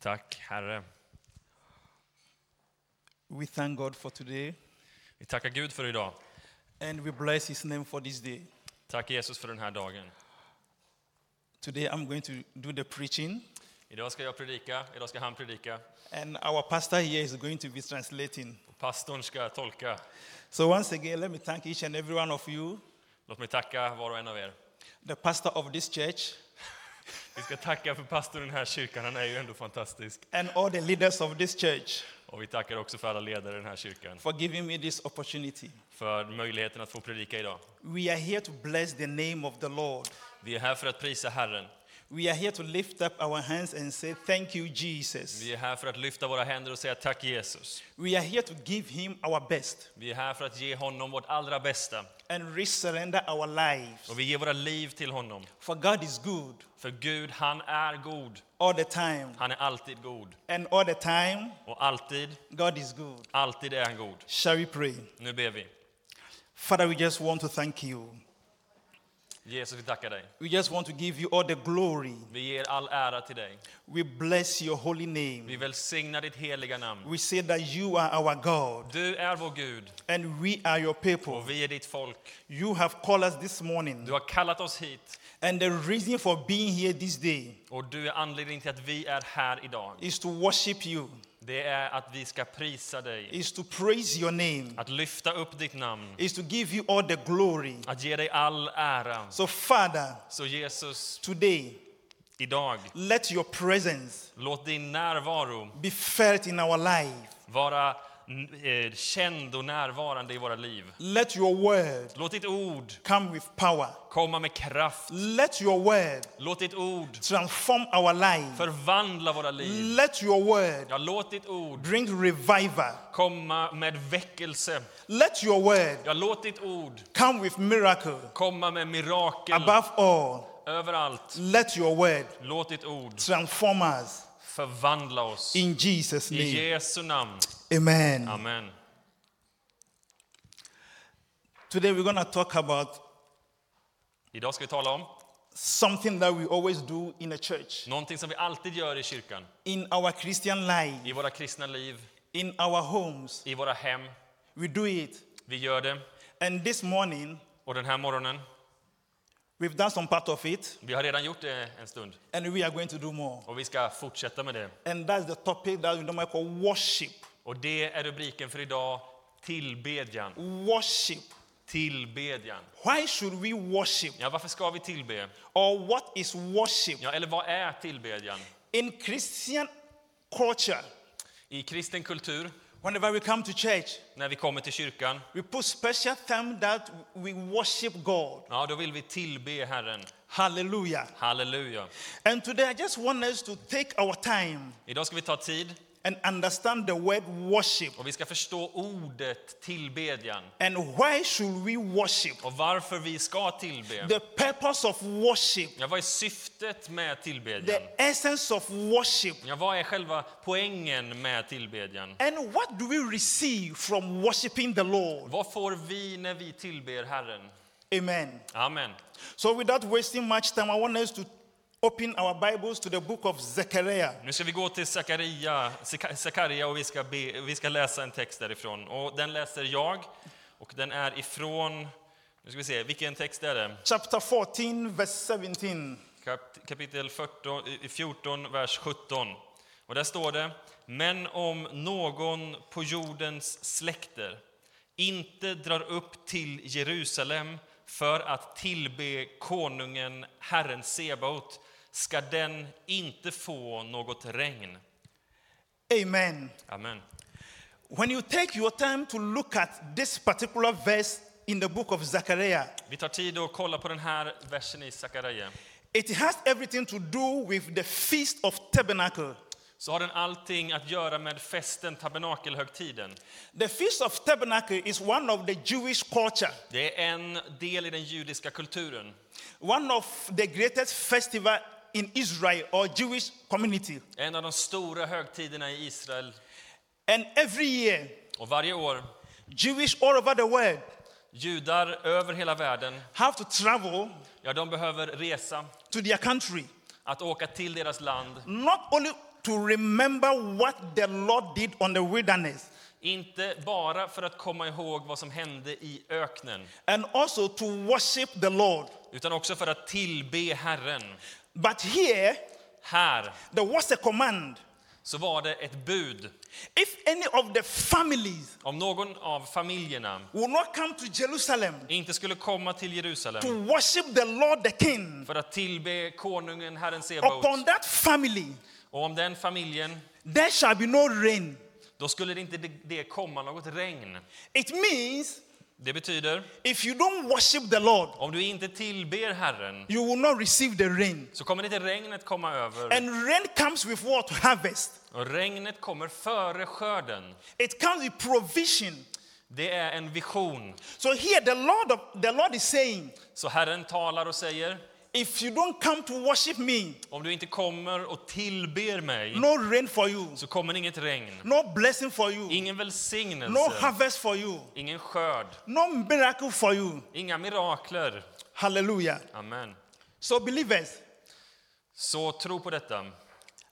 Tack Herre. We thank God for today Vi tackar Gud för idag. and we bless His name for this day. Tack Jesus för den här dagen. Today I'm going to do the preaching, Idag ska jag predika, idag ska han predika. and our pastor here is going to be translating. Och pastorn ska tolka. So, once again, let me thank each and every one of you, Låt mig tacka var och en av er. the pastor of this church, Vi ska tacka för pastorn i den här kyrkan, han är ju ändå fantastisk. and all the leaders of this church Och vi tackar också för alla ledare i den här kyrkan for giving me this opportunity. för möjligheten att få predika idag. We are here to bless the name of the Lord. Vi är här för att prisa Herren. We are here to lift up our hands and say, Thank you, Jesus. Vi är här för att lyfta våra händer och säga tack Jesus. We are here to give Him our best Vi är här för att ge honom vårt allra bästa. and resurrender our lives. Och vi ger våra liv till honom. For God is good För Gud, han är god. all the time. Han är alltid god. And all the time, Och alltid, God is good. alltid är han god. Shall we pray? Nu ber vi. Father, we just want to thank you. Jesus, vi tackar dig. We just want to give you all the glory. Vi ger all ära till dig. We bless your holy name. Vi välsignar ditt heliga namn. We say that you are our God Du är vår Gud and we are your people. och vi är ditt folk. You have called us this morning, Du har kallat oss hit and the reason for being here this day och du är anledningen till att vi är här idag. is to worship you, Det är att vi ska prisa dig, is to praise your name, att lyfta upp ditt namn, is to give you all the glory. att ge dig all ära. So, Father, Så Jesus, today, idag, let your presence låt din närvaro be felt in our life. vara eh, känd och närvarande i våra liv. Let your word Låt ditt ord come with power. komma med kraft. Let your word Låt ditt ord transform our life. förvandla våra liv. Let your word Ja, låt ditt ord bring revival. komma med väckelse. Let your word Ja, låt ditt ord come with miracle. komma med mirakel Above all, överallt. let your word Låt ditt ord transform us förvandla oss. in Jesus' I name. Jesu namn. Amen. Amen. Today we're going to talk about Idag ska vi tala om something that we always do in a church, någonting som vi alltid gör i kyrkan, in our Christian life, i våra kristna liv, in our homes. i våra hem. We do it. Vi gör det. And this morning, Och den här morgonen, we've done some part of it, vi har redan gjort det en stund and we are going to do more. och vi ska fortsätta med det. And that's the topic that we normally call worship. Och det är rubriken för idag, tillbedjan. Worship. Tillbedjan. Why should we worship? Ja, varför ska vi tillbe? Or what is worship? Ja, eller vad är tillbedjan? In Christian culture, I kristen kultur, whenever we come to church, när vi kommer till kyrkan, we put special time that we worship God. ja, då vill vi tillbe Herren. Hallelujah. Halleluja. And today I just want us to take our time Idag ska vi ta tid and understand the word worship. och vi ska förstå ordet tillbedjan And why should we worship? och varför vi ska tillbe. The purpose of worship, Ja, vad är syftet med tillbedjan? the essence of worship, Ja, vad är själva poängen med tillbedjan? and what do we receive from worshiping the Lord? Vad får vi när vi tillber Herren? Amen. Amen. So, without wasting much time, I want us to open our Bibles to the book of Zechariah. Nu ska vi gå till Zakaria, Zeka- Zakaria och vi ska, be, vi ska läsa en text därifrån. Och den läser jag och den är ifrån, nu ska vi se, vilken text är det? Chapter 14, verse 17. Kap- Kapitel 14, i- i 14, vers 17. Och där står det, men om någon på jordens släkter inte drar upp till Jerusalem för att tillbe konungen, Herren Sebaot, ska den inte få något regn. Amen. Amen. When you take your time to look at this particular verse in the book of Zechariah, Vi tar tid att kolla på den här versen i Sakaria. it has everything to do with the Feast of Tabernacle. Så har den allting att göra med festen, tabernakelhögtiden. The Feast of Tabernacle is one of the Jewish culture, Det är en del i den judiska kulturen. one of the greatest festival in Israel or Jewish community. En av de stora högtiderna i Israel. And every year, Och varje år, Jewish all over the world judar över hela världen, have to travel ja, de behöver resa, to their country att åka till deras land. not only to remember what the Lord did on the wilderness Inte bara för att komma ihåg vad som hände i öknen, and also to worship the Lord. utan också för att tillbe Herren. But here, Här there was a command. så var det ett bud. If any of the families Om någon av familjerna will not come to Jerusalem inte skulle komma till Jerusalem to worship the Lord the King, för att tillbe konungen, Herren upon Sebaot, that family och om den familjen, there shall be no rain. då skulle det inte det- det komma något regn. It means Det betyder, if you don't worship the Lord, om du inte tillber Herren you will not receive the rain. så kommer inte regnet komma över. And rain comes with what? Harvest. Och regnet kommer före skörden. It comes with provision. Det är en vision. So here the Lord of, the Lord is saying, Så Herren talar och säger, if you don't come to worship me, om du inte kommer och tillber mig no rain for you, så kommer inget regn, no blessing for you, ingen no välsignelse, harvest for you, ingen skörd, no miracle for you. inga mirakler. Hallelujah. Amen. So believers, Så tro på detta.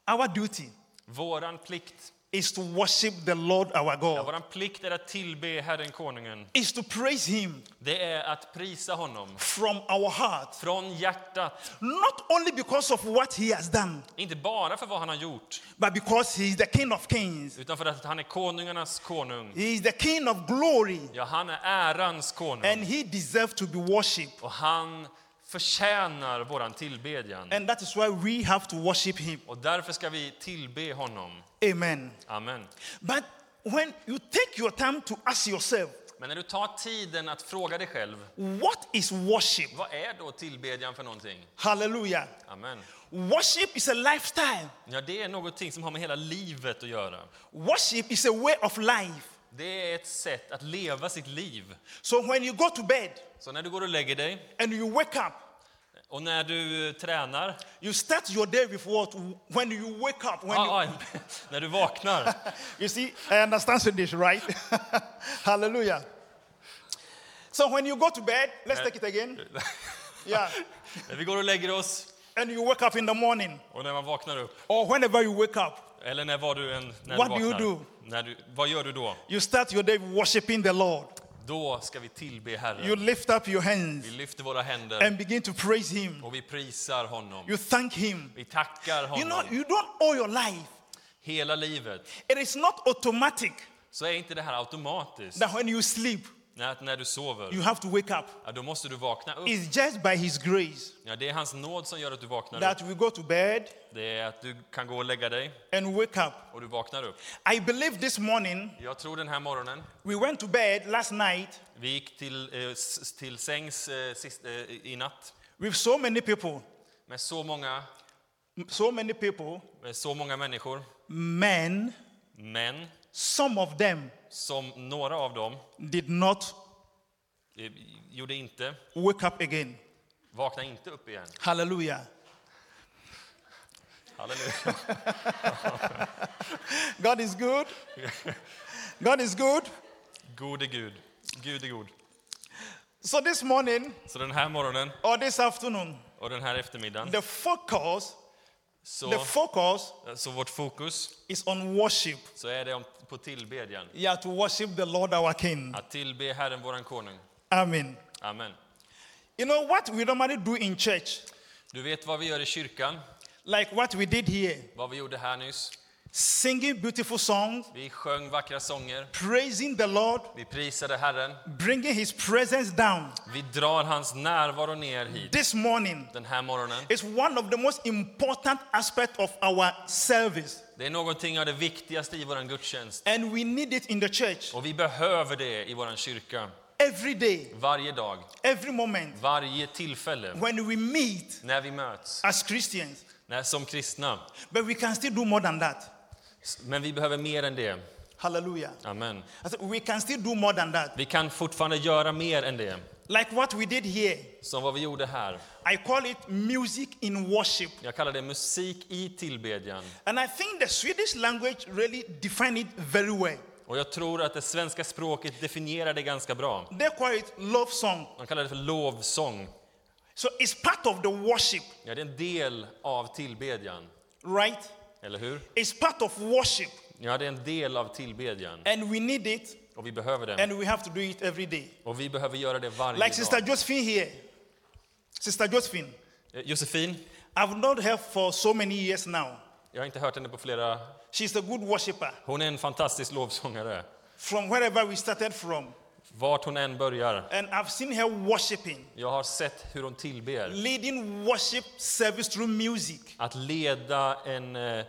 our duty Våran plikt, is to worship the Lord our ja, God. våran plikt är att tillbe Herren konungen. Is to praise him Det är att prisa honom from our heart, från hjärtat, not only because of what he has done, inte bara för vad han har gjort, but because he is the King of Kings. utan för att han är konungarnas konung. He is the King of glory, Ja, han är ärans and konung he deserves to be worshipped. och han förtjänar våran tillbedjan. And that is why we have to worship him. Och därför ska vi tillbe honom. Amen. Amen. But when you take your time to ask yourself, Men när du tar tiden att fråga dig själv, what is worship? vad är då tillbedjan för någonting? Hallelujah. Amen. Worship is a lifestyle, Ja, det är någonting som har med hela livet att göra. worship is a way of life. Det är ett sätt att leva sitt liv. So when you go to bed Så när du går och lägger dig and you wake up, och när du eh, tränar, you start your day with what? When you wake up, when ah, ah, när du vaknar. you, you see, I understand Swedish, right? Hallelujah. So when you go to bed, let's take it again. Yeah. När vi går och lägger oss and you wake up in the morning och när man vaknar upp, or whenever you wake up eller när var du än när What du do you vaknar. do? När du, vad gör du då? you start your day worshiping the lord Då ska vi tillbe you Herren. lift up your Vi hands lyfter våra händer and begin to praise him och vi prisar honom. you thank him Vi tackar you know honom you don't owe your life hela livet. it is not automatic så är inte det här automatiskt. that when you sleep När, när du sover, you have to wake up ja, då måste du vakna upp. it's just by his grace Ja, det är hans nåd som gör att du vaknar upp. that we go to bed Det är att du kan gå och lägga dig and wake up och du vaknar upp. i believe this morning Jag tror den här morgonen, we went to bed last night vi gick till, eh, s- till sängs eh, sist, eh, i natt with so many people med så många, so many people med så många människor. men Men some of them som några av dem did not eh, gjorde inte, wake up again. vakna inte upp igen. Hallelujah. Halleluja. God is good. God is good. Gode Gud. Gud är god. So this morning Så den här morgonen or this afternoon, och den här eftermiddagen, the focus, så, the focus så vårt fokus is on worship. så är det om- på tillbedjan. Yeah, to worship the Lord our King. Att tillbe Herren, våran konung. Amen. Amen. You know what we normally do in church, Du vet vad vi gör i kyrkan, like what we did here, vad vi gjorde här nyss. singing beautiful songs, Vi sjöng vackra sånger, praising the Lord, vi prisade Herren. bringing His presence down. Vi drar hans närvaro ner hit This morning den här morgonen. is one of the most important aspects of our service, Det är någonting av det viktigaste i våran gudstjänst. and we need it in the church Och vi behöver det i våran kyrka. every day. Varje dag, every moment varje tillfälle, when we meet när vi möts, as Christians. när, som kristna. But we can still do more than that. S- Men vi behöver mer än det. Hallelujah. Amen. I said, we can still do more than that. Vi kan fortfarande göra mer än det, Like what we did here. som vad vi gjorde här. I call it music in worship. Jag kallar det musik i tillbedjan. And I think the Swedish language really define it very well. Och jag tror att det svenska språket definierar det ganska bra. They call it love song. Man kallar det för lovsång. So it's part of the worship, Ja, det är en del av tillbedjan. right? Eller hur? It's part of worship, Ja, det är en del av tillbedjan and we need it, och vi behöver den. and we have to do it every day. Och vi behöver göra det varje Like Sister dag. Josephine here. Sister Josephine, Eh, Josefin, I've not heard for so many years now. jag har inte hört henne på flera... She's a good worshiper. Hon är en fantastisk lovsångare. From wherever we started from, Vart hon än börjar. and I've seen her worshiping, Jag har sett hur hon tillber. leading worship service through music. Att leda en eh, eh,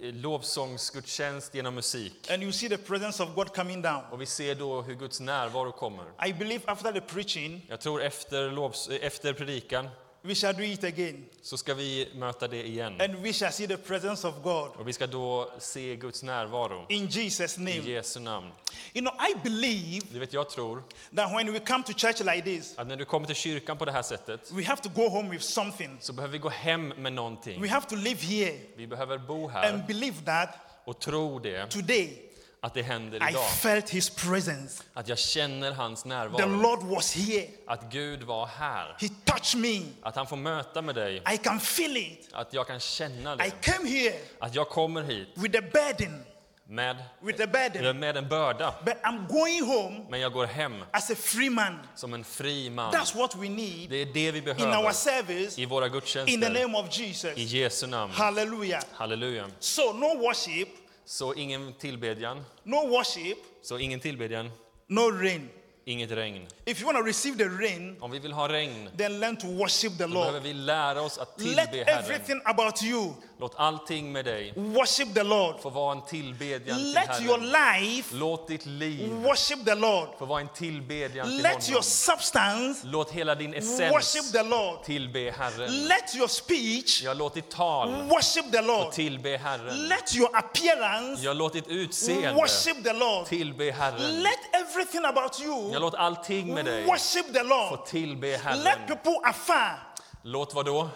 lovsångsgudstjänst genom musik. And you see the presence of God coming down. Och vi ser då hur Guds närvaro kommer. I believe after the preaching, Jag tror efter, lovs- eh, efter predikan we shall do it again. så ska vi möta det igen. And we shall see the presence of God Och vi ska då se Guds närvaro in Jesus' i name. Jesu namn. You know, I believe Du vet, jag tror that when we come to church like this, att när du kommer till kyrkan på det här sättet we have to go home with something. så behöver vi gå hem med någonting. We have to live here Vi behöver bo här and believe that och tro det, today att det händer I idag. felt his presence. Att jag känner hans The närvaro. Lord was here. Att Gud var här. He touched me. Att han får möta med dig. I can feel it. Att jag kan känna I det. came here Att jag kommer hit with a burden, med, with a burden. med en börda. But I'm going home Men jag går hem as a free man. som en fri man. That's what we need Det är det vi in our behöver service i våra in the gudstjänster. name of I Jesus. Jesu namn. Hallelujah. Halleluja. So, no worship, Så ingen tillbedjan, no worship, så ingen tillbedjan, no rain. inget regn. If you want to receive the rain, Om vi vill ha regn, then learn to worship the då behöver Lord. vi lära oss att Let tillbe Herren. everything about you Låt allting med dig worship the Lord. få vara en tillbedjan till Let your Herren. life Låt ditt liv worship the Lord. få vara en tillbedjan till Let your honom. substance Låt hela din worship essens the Lord. tillbe Herren. Let your speech Ja, låt ditt tal worship the få Lord. tillbe Herren. Let your appearance Ja, låt ditt utseende worship the Lord. tillbe Herren. Let everything about Ja, you låt allting med dig worship the få Lord. tillbe Let Herren. people afar, Låt vad då?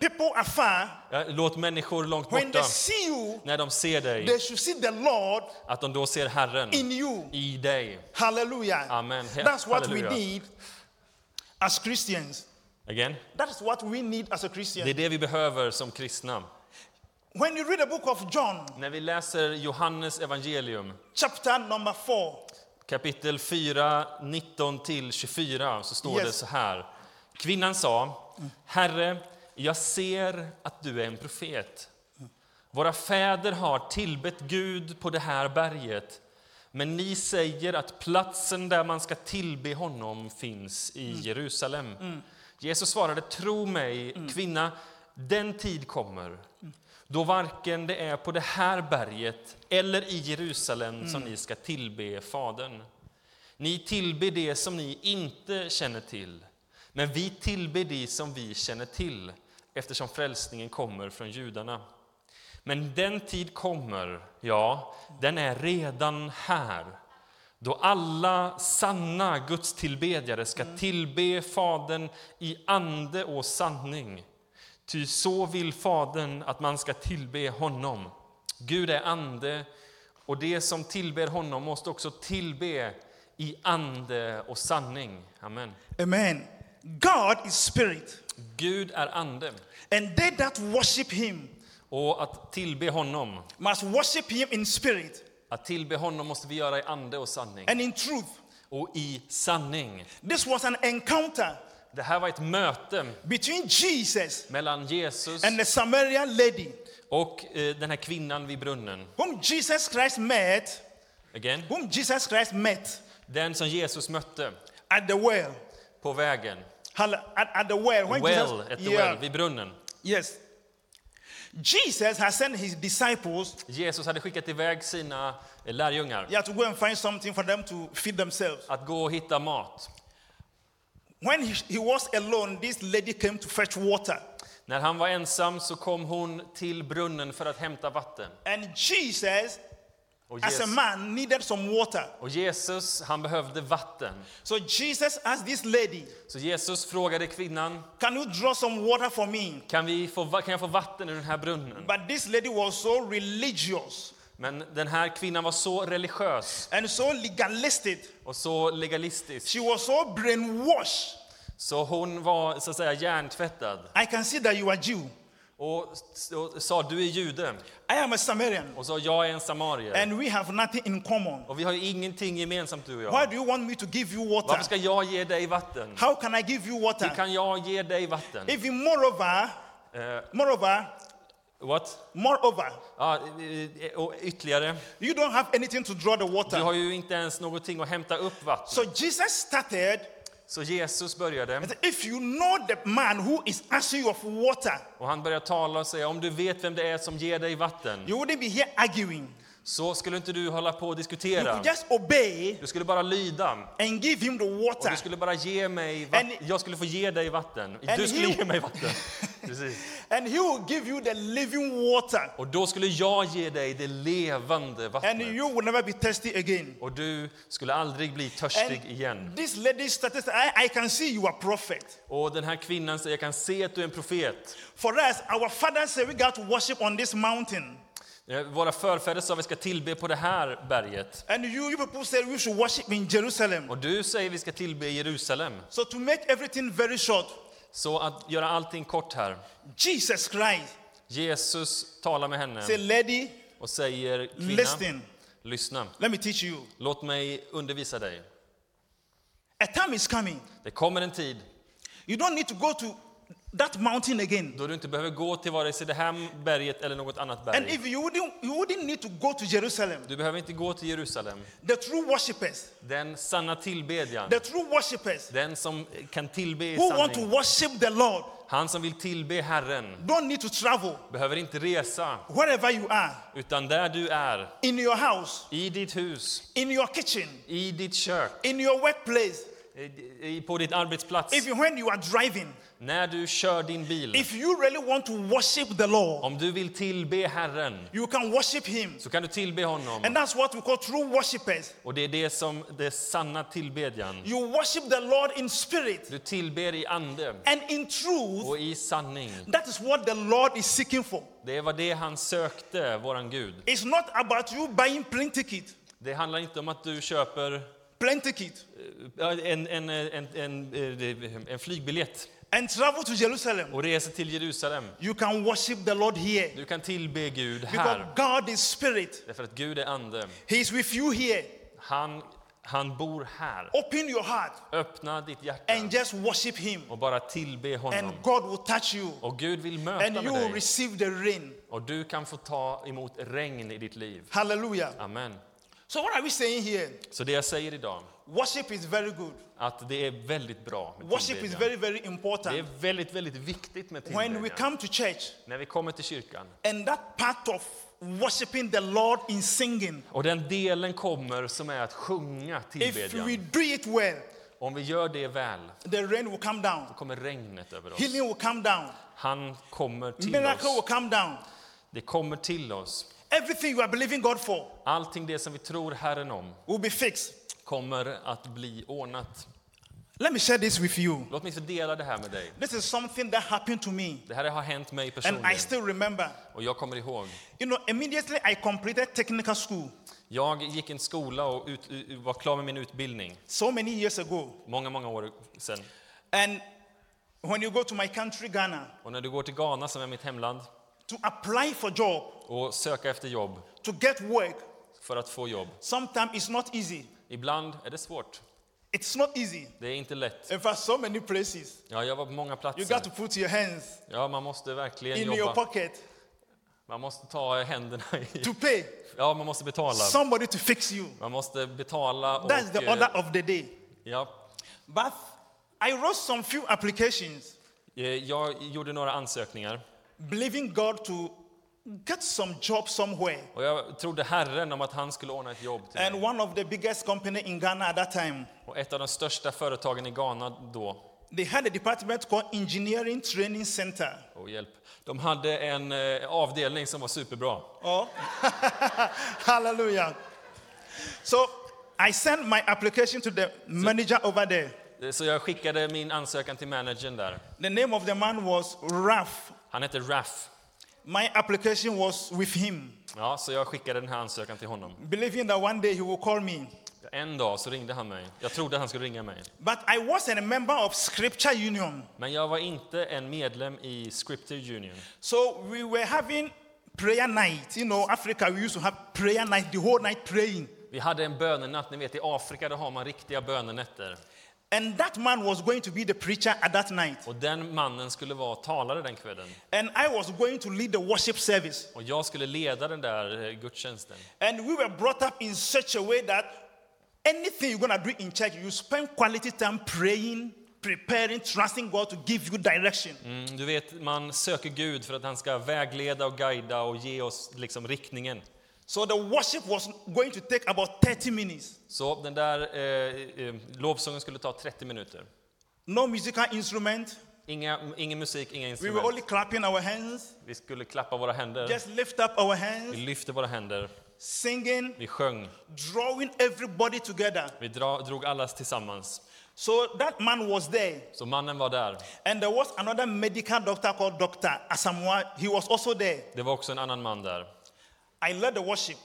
people afar, Ja, Låt människor långt when they borta, see you, när de ser dig, they should see the Lord att de då ser Herren in you. i dig. Hallelujah. Amen. That's what we Hallelujah. need as Christians. Again. That's what we need as a Christian. Det är det vi behöver som kristna. When you read the book of John, När vi läser Johannes evangelium, chapter number 4, kapitel 4, 19-24, så står Yes. det så här. Kvinnan sa, Herre, jag ser att du är en profet. Våra fäder har tillbett Gud på det här berget, men ni säger att platsen där man ska tillbe honom finns i Jerusalem. Jesus svarade, tro mig, kvinna, den tid kommer då varken det är på det här berget eller i Jerusalem som ni ska tillbe Fadern. Ni tillber det som ni inte känner till, men vi tillber det som vi känner till eftersom frälsningen kommer från judarna. Men den tid kommer, ja, den är redan här då alla sanna gudstillbedjare ska tillbe Fadern i ande och sanning. Ty så vill Fadern att man ska tillbe honom. Gud är ande, och det som tillber honom måste också tillbe i ande och sanning. Amen. Amen. God is spirit, Gud är ande, and they that worship him och att tillbe honom, must worship him in spirit att tillbe honom måste vi göra i ande och sanning. and in truth. Och i sanning. This was an encounter Det här var ett möte between Jesus mellan Jesus and the Samaritan lady Och eh, den här kvinnan vid brunnen, whom Jesus Christ met, again, whom Jesus Christ met den som Jesus mötte at the well. på vägen, Hall- At, at the well. When well, Jesus, at the yeah, well, vid brunnen. Yes. Jesus has sent his disciples Jesus hade skickat iväg sina eh, lärjungar yeah, to go and find something for them to feed themselves. att gå och hitta mat. When he, he was alone, this lady came to fetch water. När han var ensam så kom hon till brunnen för att hämta vatten. And Jesus, Och as a Jesus, man, needed some water. och Jesus han behövde vatten. So Jesus asked this lady, Så Jesus frågade kvinnan, Can you draw some water for me? kan, vi få, va- kan jag få vatten ur den här brunnen? But this lady was so religious Men den här kvinnan var så religiös and so legalistic. och så legalistisk, She was so brainwashed. så hon var så att säga hjärntvättad. I can see that you are Jew. och, och sa du är jude I am a Samaritan, och sa jag är en samarier. and we have nothing in common. Och vi har ju ingenting gemensamt du och Why jag. do you want me to give you water? Varför ska jag ge dig vatten? How can I give you water? Hur kan jag ge dig vatten? Even moreover, Eh, moreover, what? moreover, Ja, eh, och ytterligare, you don't have anything to draw the du water. har ju inte ens någonting att hämta upp vatten. So Jesus started. Så Jesus började and said, If you know the man who is asking you of water, och han började tala och säga om du vet vem det är som ger dig vatten you wouldn't be here arguing. så skulle inte du hålla på och You diskutera. could just obey Du skulle bara lyda and give him the och water. du skulle bara ge mig vatten. And- Jag skulle få ge dig vatten. And Du skulle he- ge mig vatten. Precis. And he will give you the living water. Och då skulle jag ge dig det levande And vattnet. you will never be thirsty again. Och du skulle aldrig bli törstig igen. And this lady started, I, I can see you are prophet. Och den här kvinnan säger, jag kan se att du är en profet. For us, our father said we got to worship on this mountain. Eh, Våra förfäder sa vi ska tillbe på det här berget. And you, you people said we should worship in Jerusalem. Och du säger vi ska tillbe i Jerusalem. So to make everything very short, Så att göra allting kort här. Jesus Christ Jesus talar med henne said, Lady, och säger kvinna, listen, lyssna. let me teach you. Låt mig undervisa dig. A time is coming. Det kommer en tid You don't need to go to that mountain again. då du inte behöver gå till vare sig det här berget eller något annat And berg. if you wouldn't, you wouldn't need to go to Jerusalem. Du behöver inte gå till Jerusalem. The true worshippers, Den sanna tillbedjan, the true worshippers den som kan tillbe i who want to sanning, worship the Lord han som vill tillbe Herren, don't need to travel behöver inte resa, wherever you are, utan där du är, in your house, i ditt hus, in your kitchen, i ditt kök, in your workplace, i- i- på ditt arbetsplats, even when you are driving. när du kör din bil. If you really want to worship the Lord, Om du vill tillbe Herren you can worship Him. så kan du tillbe honom. And that's what we call true worshippers. Och det är det som det är sanna tillbedjan. You worship the Lord in spirit Du tillber i ande and in truth. och i sanning. That is what the Lord is seeking for. Det var det han sökte, våran Gud. It's not about you buying plane ticket, Det handlar inte om att du köper eh, plane ticket, en, en, en, en, eh, en flygbiljett and travel to Jerusalem. och reser till Jerusalem. You can worship the Lord here Du kan tillbe Gud because här. God is spirit. Därför att Gud är ande. He is with you here. Han, han bor här. Open your heart Öppna ditt hjärta and just worship Him, och bara tillbe and honom. God will touch you, Och Gud vill and möta you med will dig. receive the rain. Och du kan få ta emot regn i ditt liv. Hallelujah. Amen. So, what are we saying here? Så det jag säger idag, Worship is very good. att det är väldigt bra med Worship is tillbedjan. very, very Det är important. väldigt, väldigt viktigt med When we tillbedjan. come to church, När vi kommer till kyrkan. and that part of worshiping the Lord in singing, Och den delen kommer som är att sjunga if we tillbedjan. do it well, Om vi gör det väl, the rain will come down, då kommer regnet över oss. healing will come down, Han kommer till miracle will oss. come down. Det kommer till oss. Everything you are believing God for Allting det som vi tror Herren om will be fixed. kommer att bli ordnat. Let me share this with you. Låt mig få dela det här med dig. This is something that happened to me, Det här har hänt mig and I personligen still remember. och jag kommer ihåg. You know, immediately I completed technical school Jag gick en skola och ut, u- var klar med min utbildning so many years ago. många, många år sedan. And when you go to my country, Ghana, Och när du går till Ghana, som är mitt hemland, to apply for job, och söka efter jobb to get work, för att få jobb. sometimes it's not easy. Ibland är det svårt. It's not easy. Det är inte lätt. In fact, so many places. Ja, jag var på många You got platser. to put your hands Ja, man måste verkligen in your jobba. pocket Man måste ta händerna i. to pay Ja, man måste betala. somebody to fix you. Man måste betala och... That's the eh, order of the day. Ja. But I wrote some few applications, Eh, Jag gjorde några ansökningar believing God to get some job somewhere. och jag trodde Herren om att han skulle ordna ett jobb till And mig. one of the biggest company in Ghana at that time, Och ett av de största företagen i Ghana då they had a department called Engineering Training Center. Oh, hjälp. De hade en eh, avdelning som var superbra. Oh, hallelujah! So I sent my application to the manager over there. Eh, Så jag skickade min ansökan till managern där. The name of the man was Raf. Han hette Raff. My application was with him, Ja, så jag skickade den här ansökan till honom. believing that one day he will call me. En dag så ringde han mig. Jag trodde han skulle ringa mig. But I wasn't a member of Scripture Union. Men jag var inte en medlem i Scripture Union. So we were having prayer night. You know, Africa, we used to have prayer night, the whole night praying. Vi hade en bönenatt. Ni vet, i Afrika där har man riktiga bönenätter. And that man was going to be the preacher at that night. Och den mannen skulle vara talare den kvällen. And I was going to lead the worship service. Och jag skulle leda den där eh, gudstjänsten. And we were brought up in such a way that anything you're going to do in church, you spend quality time praying, preparing, trusting God to give you direction. Mm, du vet, man söker Gud för att han ska vägleda och guida och ge oss liksom riktningen. So the worship was going to take about 30 minutes. Så den där eh, eh, lovsången skulle ta 30 minuter. No musical instrument. Inga, ingen musik, inga We were instrument. only clapping our hands, Vi skulle klappa våra händer. just lift up our Vi hands, lyfte våra händer. singing, Vi sjöng. drawing everybody together. Vi dra, drog allas tillsammans. So that man was there. Så mannen var där. And there was another medical doctor called Dr. Asamoah. He was also there. Det var också en annan man där. I led the worship.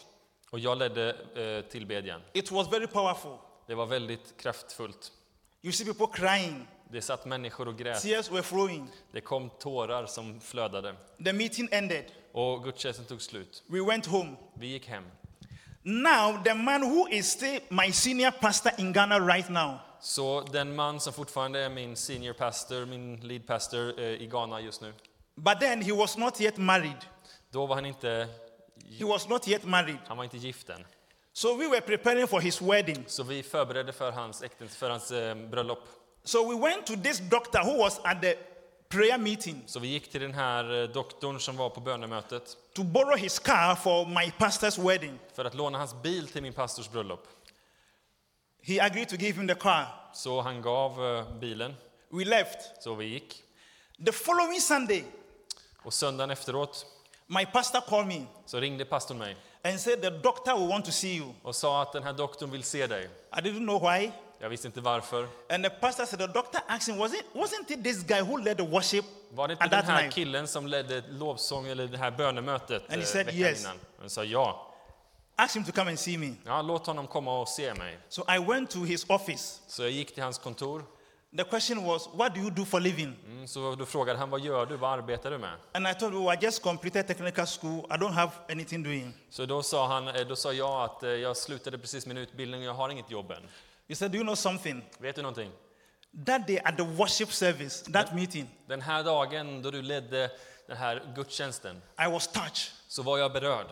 Och jag ledde eh, tillbedjan. It was very powerful. Det var väldigt kraftfullt. You see people crying, Det satt människor och grät. tears were flowing. Det kom tårar som flödade. The meeting ended. Och gudstjänsten tog slut. We went home. Vi gick hem. Now, the man who is still my senior pastor in Ghana right now, Så den man som fortfarande är min senior pastor, min lead pastor eh, i Ghana just nu. but then he was not yet married. Då var han inte, He was not yet married. han var inte gift än. So we were preparing for his wedding. Så vi förberedde för hans, äktens, för hans eh, bröllop. So we went to this doctor who was at the prayer meeting Så vi gick till den här eh, doktorn som var på bönemötet to borrow his car for my pastor's wedding. för att låna hans bil till min pastors bröllop. He agreed to give him the car. Så han gav eh, bilen, We left. så vi gick. The following Sunday, Och söndagen efteråt my pastor called me så ringde pastorn mig and said, The doctor will want to see you. och sa att den här doktorn vill se dig. I didn't know why. Jag visste inte varför. And the pastor said, The doctor asked him, was it, Wasn't it this guy who led the worship Var det inte at den that här night? killen som ledde lovsång eller det här bönemötet he eh, said veckan yes. innan? Han sa ja. Asked him to come and see me. Ja, låt honom komma och se mig. So I went to his office. Så jag gick till hans kontor. The question was, What do you do for living? Mm, Så då frågade han, vad gör du? Vad arbetar du med? And I told him, well, I just completed technical school. I don't have anything doing. Så då sa, han, eh, då sa jag att eh, jag slutade precis min utbildning och jag har inget jobb än. He said, Do you know something? Vet du någonting? That day at the worship service, that meeting, Den här dagen då du ledde den här gudstjänsten I was touched. så var jag berörd.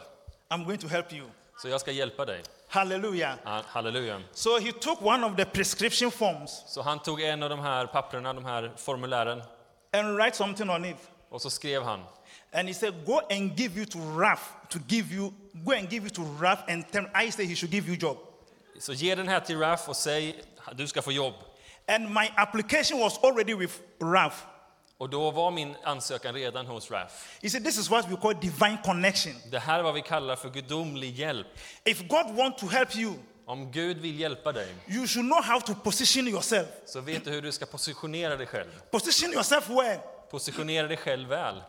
I'm going to help you. Så jag ska hjälpa dig. Hallelujah. Ah, Halleluja. So he took one of the prescription forms Så han tog en av de här papperna, de här formulären and write something on it. och så skrev han. And he said, Go and give you to Raf to give you, go and give you to Raf and tell I say he should give you job. Så ge den här till Raf och säg du ska få jobb. And my application was already with Raf. Och då var min ansökan redan hos Raf. He said, This is what we call divine connection. Det här är vad vi kallar för gudomlig hjälp. If God wants to help you, Om Gud vill hjälpa dig you should know how to position yourself. så vet du hur du ska positionera dig själv. Position yourself where? Positionera dig själv väl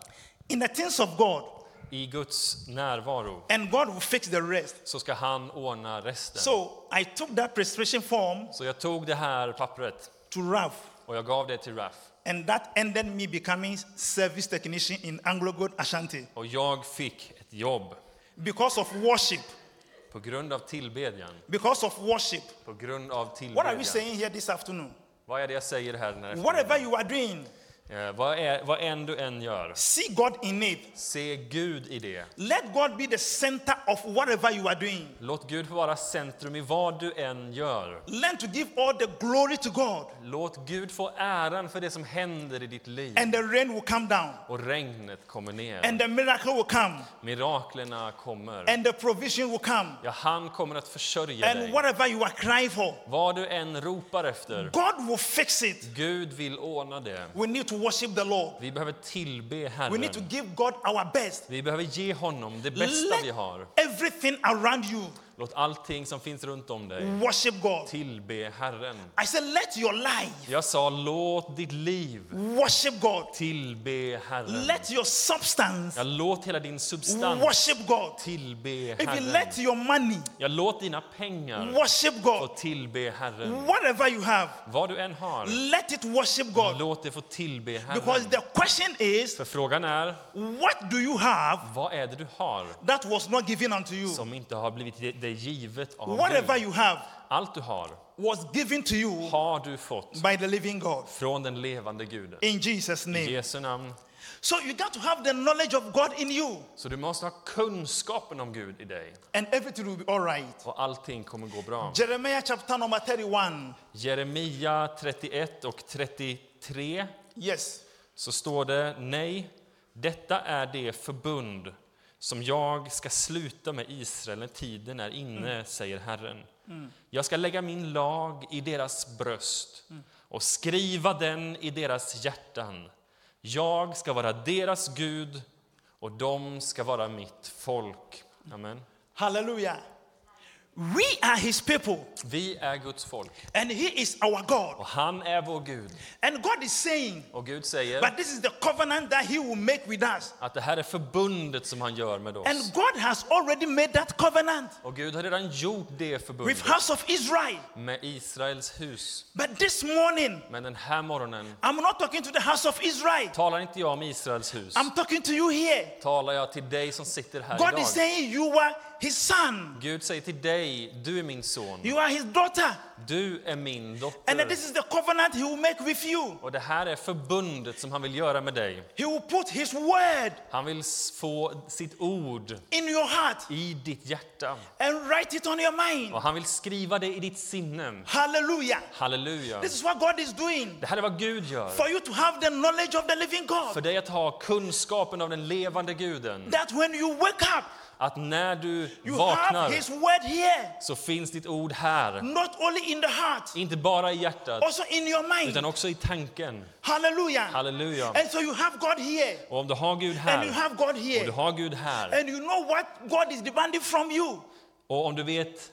In the things of God. i Guds närvaro And God will fix the rest. så ska han ordna resten. So I took that prescription form Så jag tog det här pappret to Raf. och jag gav det till Raf. And that ended me becoming service technician in Anglo Gold Ashanti Och jag fick ett jobb because of worship. på grund av tillbedjan. Because of worship. På grund av What are we tillbedjan. saying here this afternoon? Vad är det jag säger här? Den här Whatever you are doing, Eh, vad, är, vad än du än gör, see God in it. se Gud i det. Let God be the center of whatever you are doing. Låt Gud vara centrum i vad du än gör. Learn to give all the glory to God, Låt Gud få äran för det som händer i ditt liv. and the rain will come down, Och regnet kommer ner. and the miracle will come, Miraklerna kommer. and the provision will come, Ja, han kommer att försörja and dig. whatever you are crying for, Vad du än ropar efter, God will fix it. Gud vill ordna det. We need to worship the Lord. Vi behöver tillbe We need to Herren. give God our best. Vi behöver ge honom det bästa vi har. Let everything around you Låt allting som finns runt om dig Worship God. tillbe Herren. I said, let your life Jag sa låt ditt liv worship God. tillbe Herren. Let your substance Ja, låt hela din substans worship God. tillbe If you Herren. let your money Ja, låt dina pengar worship få God, tillbe Herren. whatever you have, Vad du än har, let it worship God. låt det få tillbe Because Herren. the question is, För frågan är, what do you have vad är det du har that was not given unto you? som inte har blivit ge- dig givet av Whatever Gud? you have Allt du har, was given to you har du fått by the living God. från den levande Guden. In Jesus' I name. Jesu namn. So you got to have the knowledge of God in you, Så du måste ha kunskapen om Gud i dig and everything will be all right. och allting kommer gå bra. Jeremiah chapter number 31. Jeremia 31 och 33 Yes. så står det nej, detta är det förbund som jag ska sluta med Israel när tiden är inne, säger Herren. Jag ska lägga min lag i deras bröst och skriva den i deras hjärtan. Jag ska vara deras Gud och de ska vara mitt folk. Amen. Hallelujah. We are his people, Vi är Guds folk and he is our God. och han är vår Gud. And God is saying, Och Gud säger but this is the covenant that he will make with us. att det här är förbundet som han gör med And oss. God has already made that covenant Och Gud har redan gjort det förbundet. with house of Israel. med Israels hus. But this morning, Men den här morgonen I'm not talking to the house of Israel. talar inte jag om Israels hus. I'm talking to you here. Talar jag till dig som sitter här God is idag. saying you are his son. Gud säger till dig, du är min son, You are his daughter. du är min And that dotter. this is the covenant he will make with you. Och det här är förbundet som han vill göra med dig. He will put his word Han vill s- få sitt ord in your heart i ditt hjärta. and write it on your mind. Och han vill skriva det i ditt sinne. Hallelujah. Halleluja. This is what God is doing Det här är vad Gud gör. for you to have the knowledge of the living För God. dig att ha kunskapen av den levande guden. That when you wake up, Att när du you have vaknar his word here, så finns ditt ord här. not only in the heart, Inte bara i hjärtat, also in your mind. utan också i tanken. Hallelujah. Halleluja. And so you have God here, Och om du har Gud and you här, have God och du here, har Gud här, and you know what God is demanding from you, och om du vet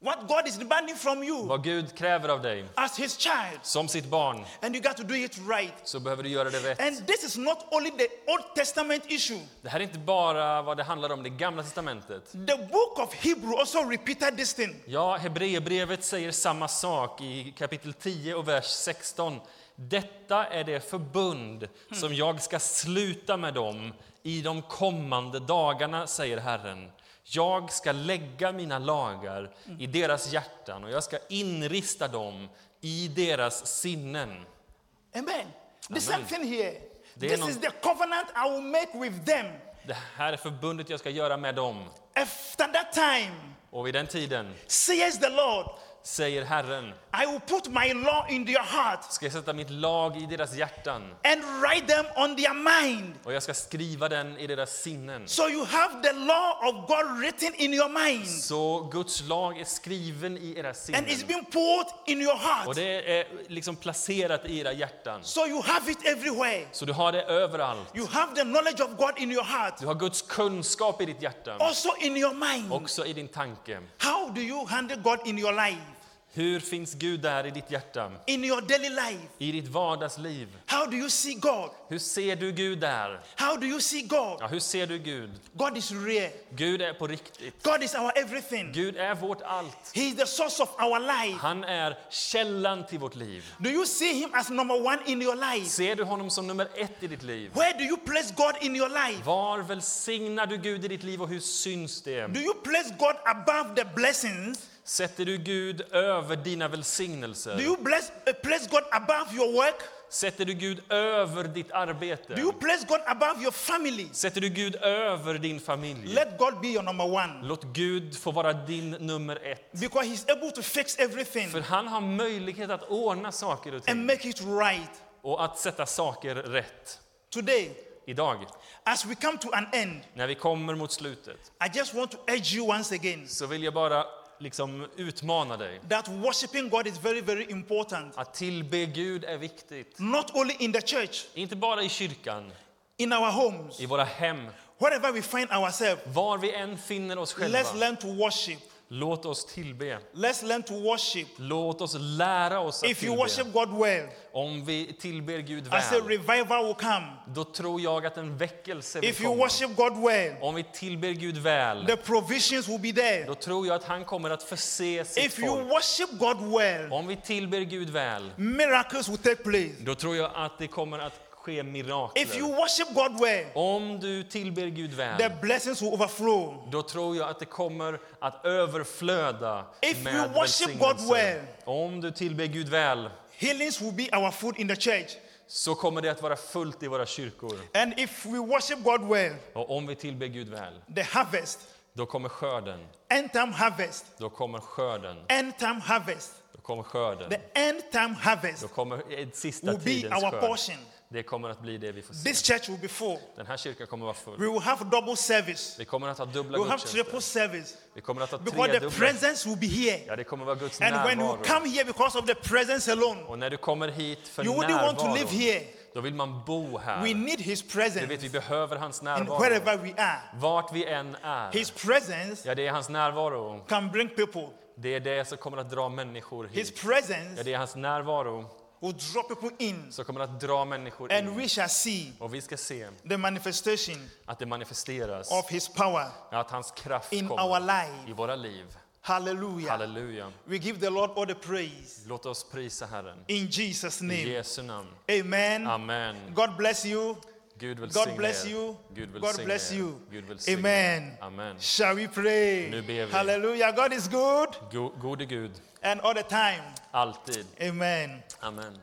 what God is demanding from you vad Gud kräver av dig as his child, som sitt barn, and you got to do it right. så behöver du göra det rätt. And this is not only the Old Testament issue. Det här är inte bara vad det handlar om det gamla testamentet. The book of Hebrew also repeated this thing. Ja, Hebreerbrevet säger samma sak i kapitel 10 och vers 16. Detta är det förbund som jag ska sluta med dem i de kommande dagarna, säger Herren. Jag ska lägga mina lagar i deras hjärtan och jag ska inrista dem i deras sinnen. Amen. The same thing here. They this know- is the covenant I will make with them. Det här är förbundet jag ska göra med dem. After that time, Och vid den tiden, says the Lord, säger Herren, I will put my law in their heart ska jag sätta mitt lag i deras hjärtan and write them on their mind. och jag ska skriva den i deras sinnen. So you have the law of God written in your mind Så Guds lag är skriven i era sinnen. and it's being poured in your Och heart. det är liksom placerat i era hjärtan. So you have it everywhere. Så du har det överallt. You have the knowledge of God in your heart, Du har Guds kunskap i ditt hjärta, also in your mind. också i din tanke. How do you handle God in your life, Hur finns Gud där i ditt hjärta? in your daily life? I ditt vardagsliv? How do you see God? Hur ser du Gud där? How do you see God? Ja, hur ser du Gud? God is real. Gud är på riktigt. God is our everything. Gud är vårt allt. He is the source of our life. Han är källan till vårt liv. Do you see Him as number one in your life? Ser du honom som nummer ett i ditt liv? Where do you place God in your life? Var välsignar du Gud i ditt liv och hur syns det? Do you place God above the blessings? Sätter du Gud över dina Do välsignelser? you bless, uh, place God above your work? Sätter du Gud över ditt Do arbete? you place God above your family? Sätter du Gud över din familj? Let God be your number one Låt Gud få vara din nummer ett. because He's able to fix everything För han har möjlighet att ordna saker och and ting make it right. och att sätta saker rätt. Today, Idag, as we come to an end, när vi kommer mot slutet, I just want to urge you once again så vill jag bara liksom utmana dig. that worshiping God is very, very important. Att tillbe Gud är viktigt. Not only in the church, Inte bara i kyrkan, in our homes, i våra hem, wherever we find ourselves, var vi än finner oss själva. let's learn to worship. Låt oss tillbe. Let's learn to worship. Låt oss lära oss att If you tillbe. worship God well, Om vi tillber Gud I say väl, revival will come. då tror jag att en väckelse vill If you komma. worship God well, Om vi tillber Gud väl, the provisions will be there. då tror jag att han kommer att förse sitt If you folk. worship God well, Om vi tillber Gud väl, miracles will take place. då tror jag att det kommer att ske If you mirakler. worship God well, Om du tillber Gud the väl, blessings will overflow. då tror jag att det kommer att överflöda If you med worship God välsignelse. well. Om du tillber Gud väl, Healings will be our food in the church. så kommer det att vara fullt i våra kyrkor. And if we worship God well, Och om vi tillber Gud väl, the harvest, då kommer skörden. end time harvest, Då kommer skörden. end time harvest, Då kommer skörden. the end time harvest Då kommer eh, sista will be tidens our skörd. portion. Det kommer att bli det vi får se. This church will be full. Den här kyrkan kommer vara full. We will have double service. Vi kommer att ha dubbla We will have triple gudstjänster. service Vi kommer att ha because the tredubbla. presence will be here. Ja, det kommer vara Guds And when you närvaro. come here because of the presence alone, Och när du kommer hit för you wouldn't want to live närvaro, here. då vill man bo We här. need His Du vet, presence vi behöver hans in närvaro. wherever we are. Vart vi än är. His presence Ja, det är hans närvaro. can bring people. Det är det som kommer att dra människor His hit. presence Ja, det är hans närvaro will draw people in, som kommer att dra människor and in. we shall see Och vi ska se the manifestation att det manifesteras. of His power Att hans kraft in our kommer i life. våra liv. Hallelujah. Halleluja. We give the Lord all the praise Låt oss prisa Herren. in Jesus' I name. Jesu namn. Amen. Amen. God bless you. Gud God välsigne bless er. you. Gud God bless välsigne you. er. Gud välsigne Amen. er. Amen. Shall we pray? Nu ber vi. Hallelujah. God is good Go- Gode Gud, and all the time. alltid. Amen. Amen.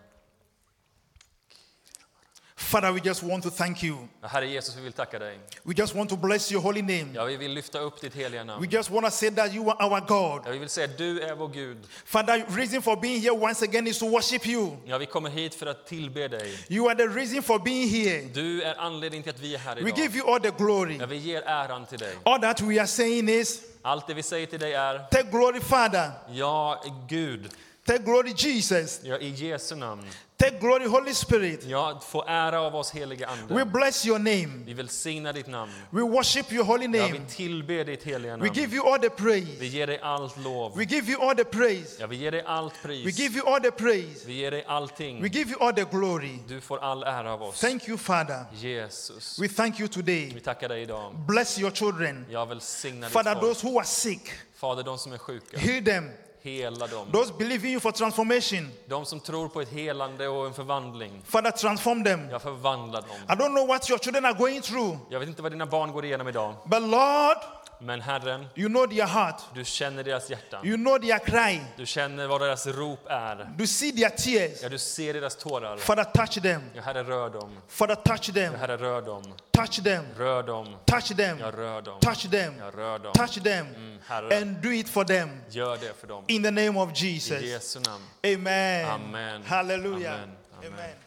Father, we just want to thank you. Herre Jesus, vi vill tacka dig. We just want to bless your holy name. Ja, vi vill lyfta upp ditt heliga We namn. just want to say that you are our God. Ja, vi vill säga du är vår Gud. Father, reason for being here once again is to worship you. Ja, vi kommer hit för att tillbe dig. You are the reason for being here. Du är anledningen till att vi är här We give idag. you all the glory. Ja, vi ger äran till dig. All that we are saying is Allt det vi säger till dig är take glory, Father. ja, Gud. Take glory, Jesus. Ja, I Jesu namn. Take glory, Holy Spirit. Ja, få ära av oss heliga We Ande. bless your name. Vi välsignar ditt namn. We worship your holy Ja, vi name. tillber ditt heliga We namn. give you all the Vi praise. ger dig allt lov. We give you all the praise. Ja, vi ger dig allt We pris. give you all the praise. Vi ger dig allting. We give you all the glory. Du får all ära av oss. Thank you, Father. Jesus, We thank you vi today. tackar dig idag. Bless your children. Jag välsignar ditt Father, folk. those who are sick, Fader, de som är sjuka, heal them. hela dem. Those believing you for transformation, De som tror på ett helande och en förvandling, Father, transform them. jag förvandlar dem. I don't know what your children are going through, Jag vet inte vad dina barn går igenom idag, but Lord, men Herren, you know their heart. du känner deras hjärtan. You know their cry. Du känner vad deras rop är. You see their tears. Ja, du ser deras tårar. Father, touch them. Ja, Herre, rör dem. Father, touch Ja, them. Herre, rör dem. Touch them. Rör dem. Touch them. Jag rör dem. Touch them. Jag rör dem. Touch them. Mm, Herre, And do it for them. gör det för dem. In the name of I Jesus. Jesu namn. Amen. Amen. Hallelujah. Amen. Amen. Amen.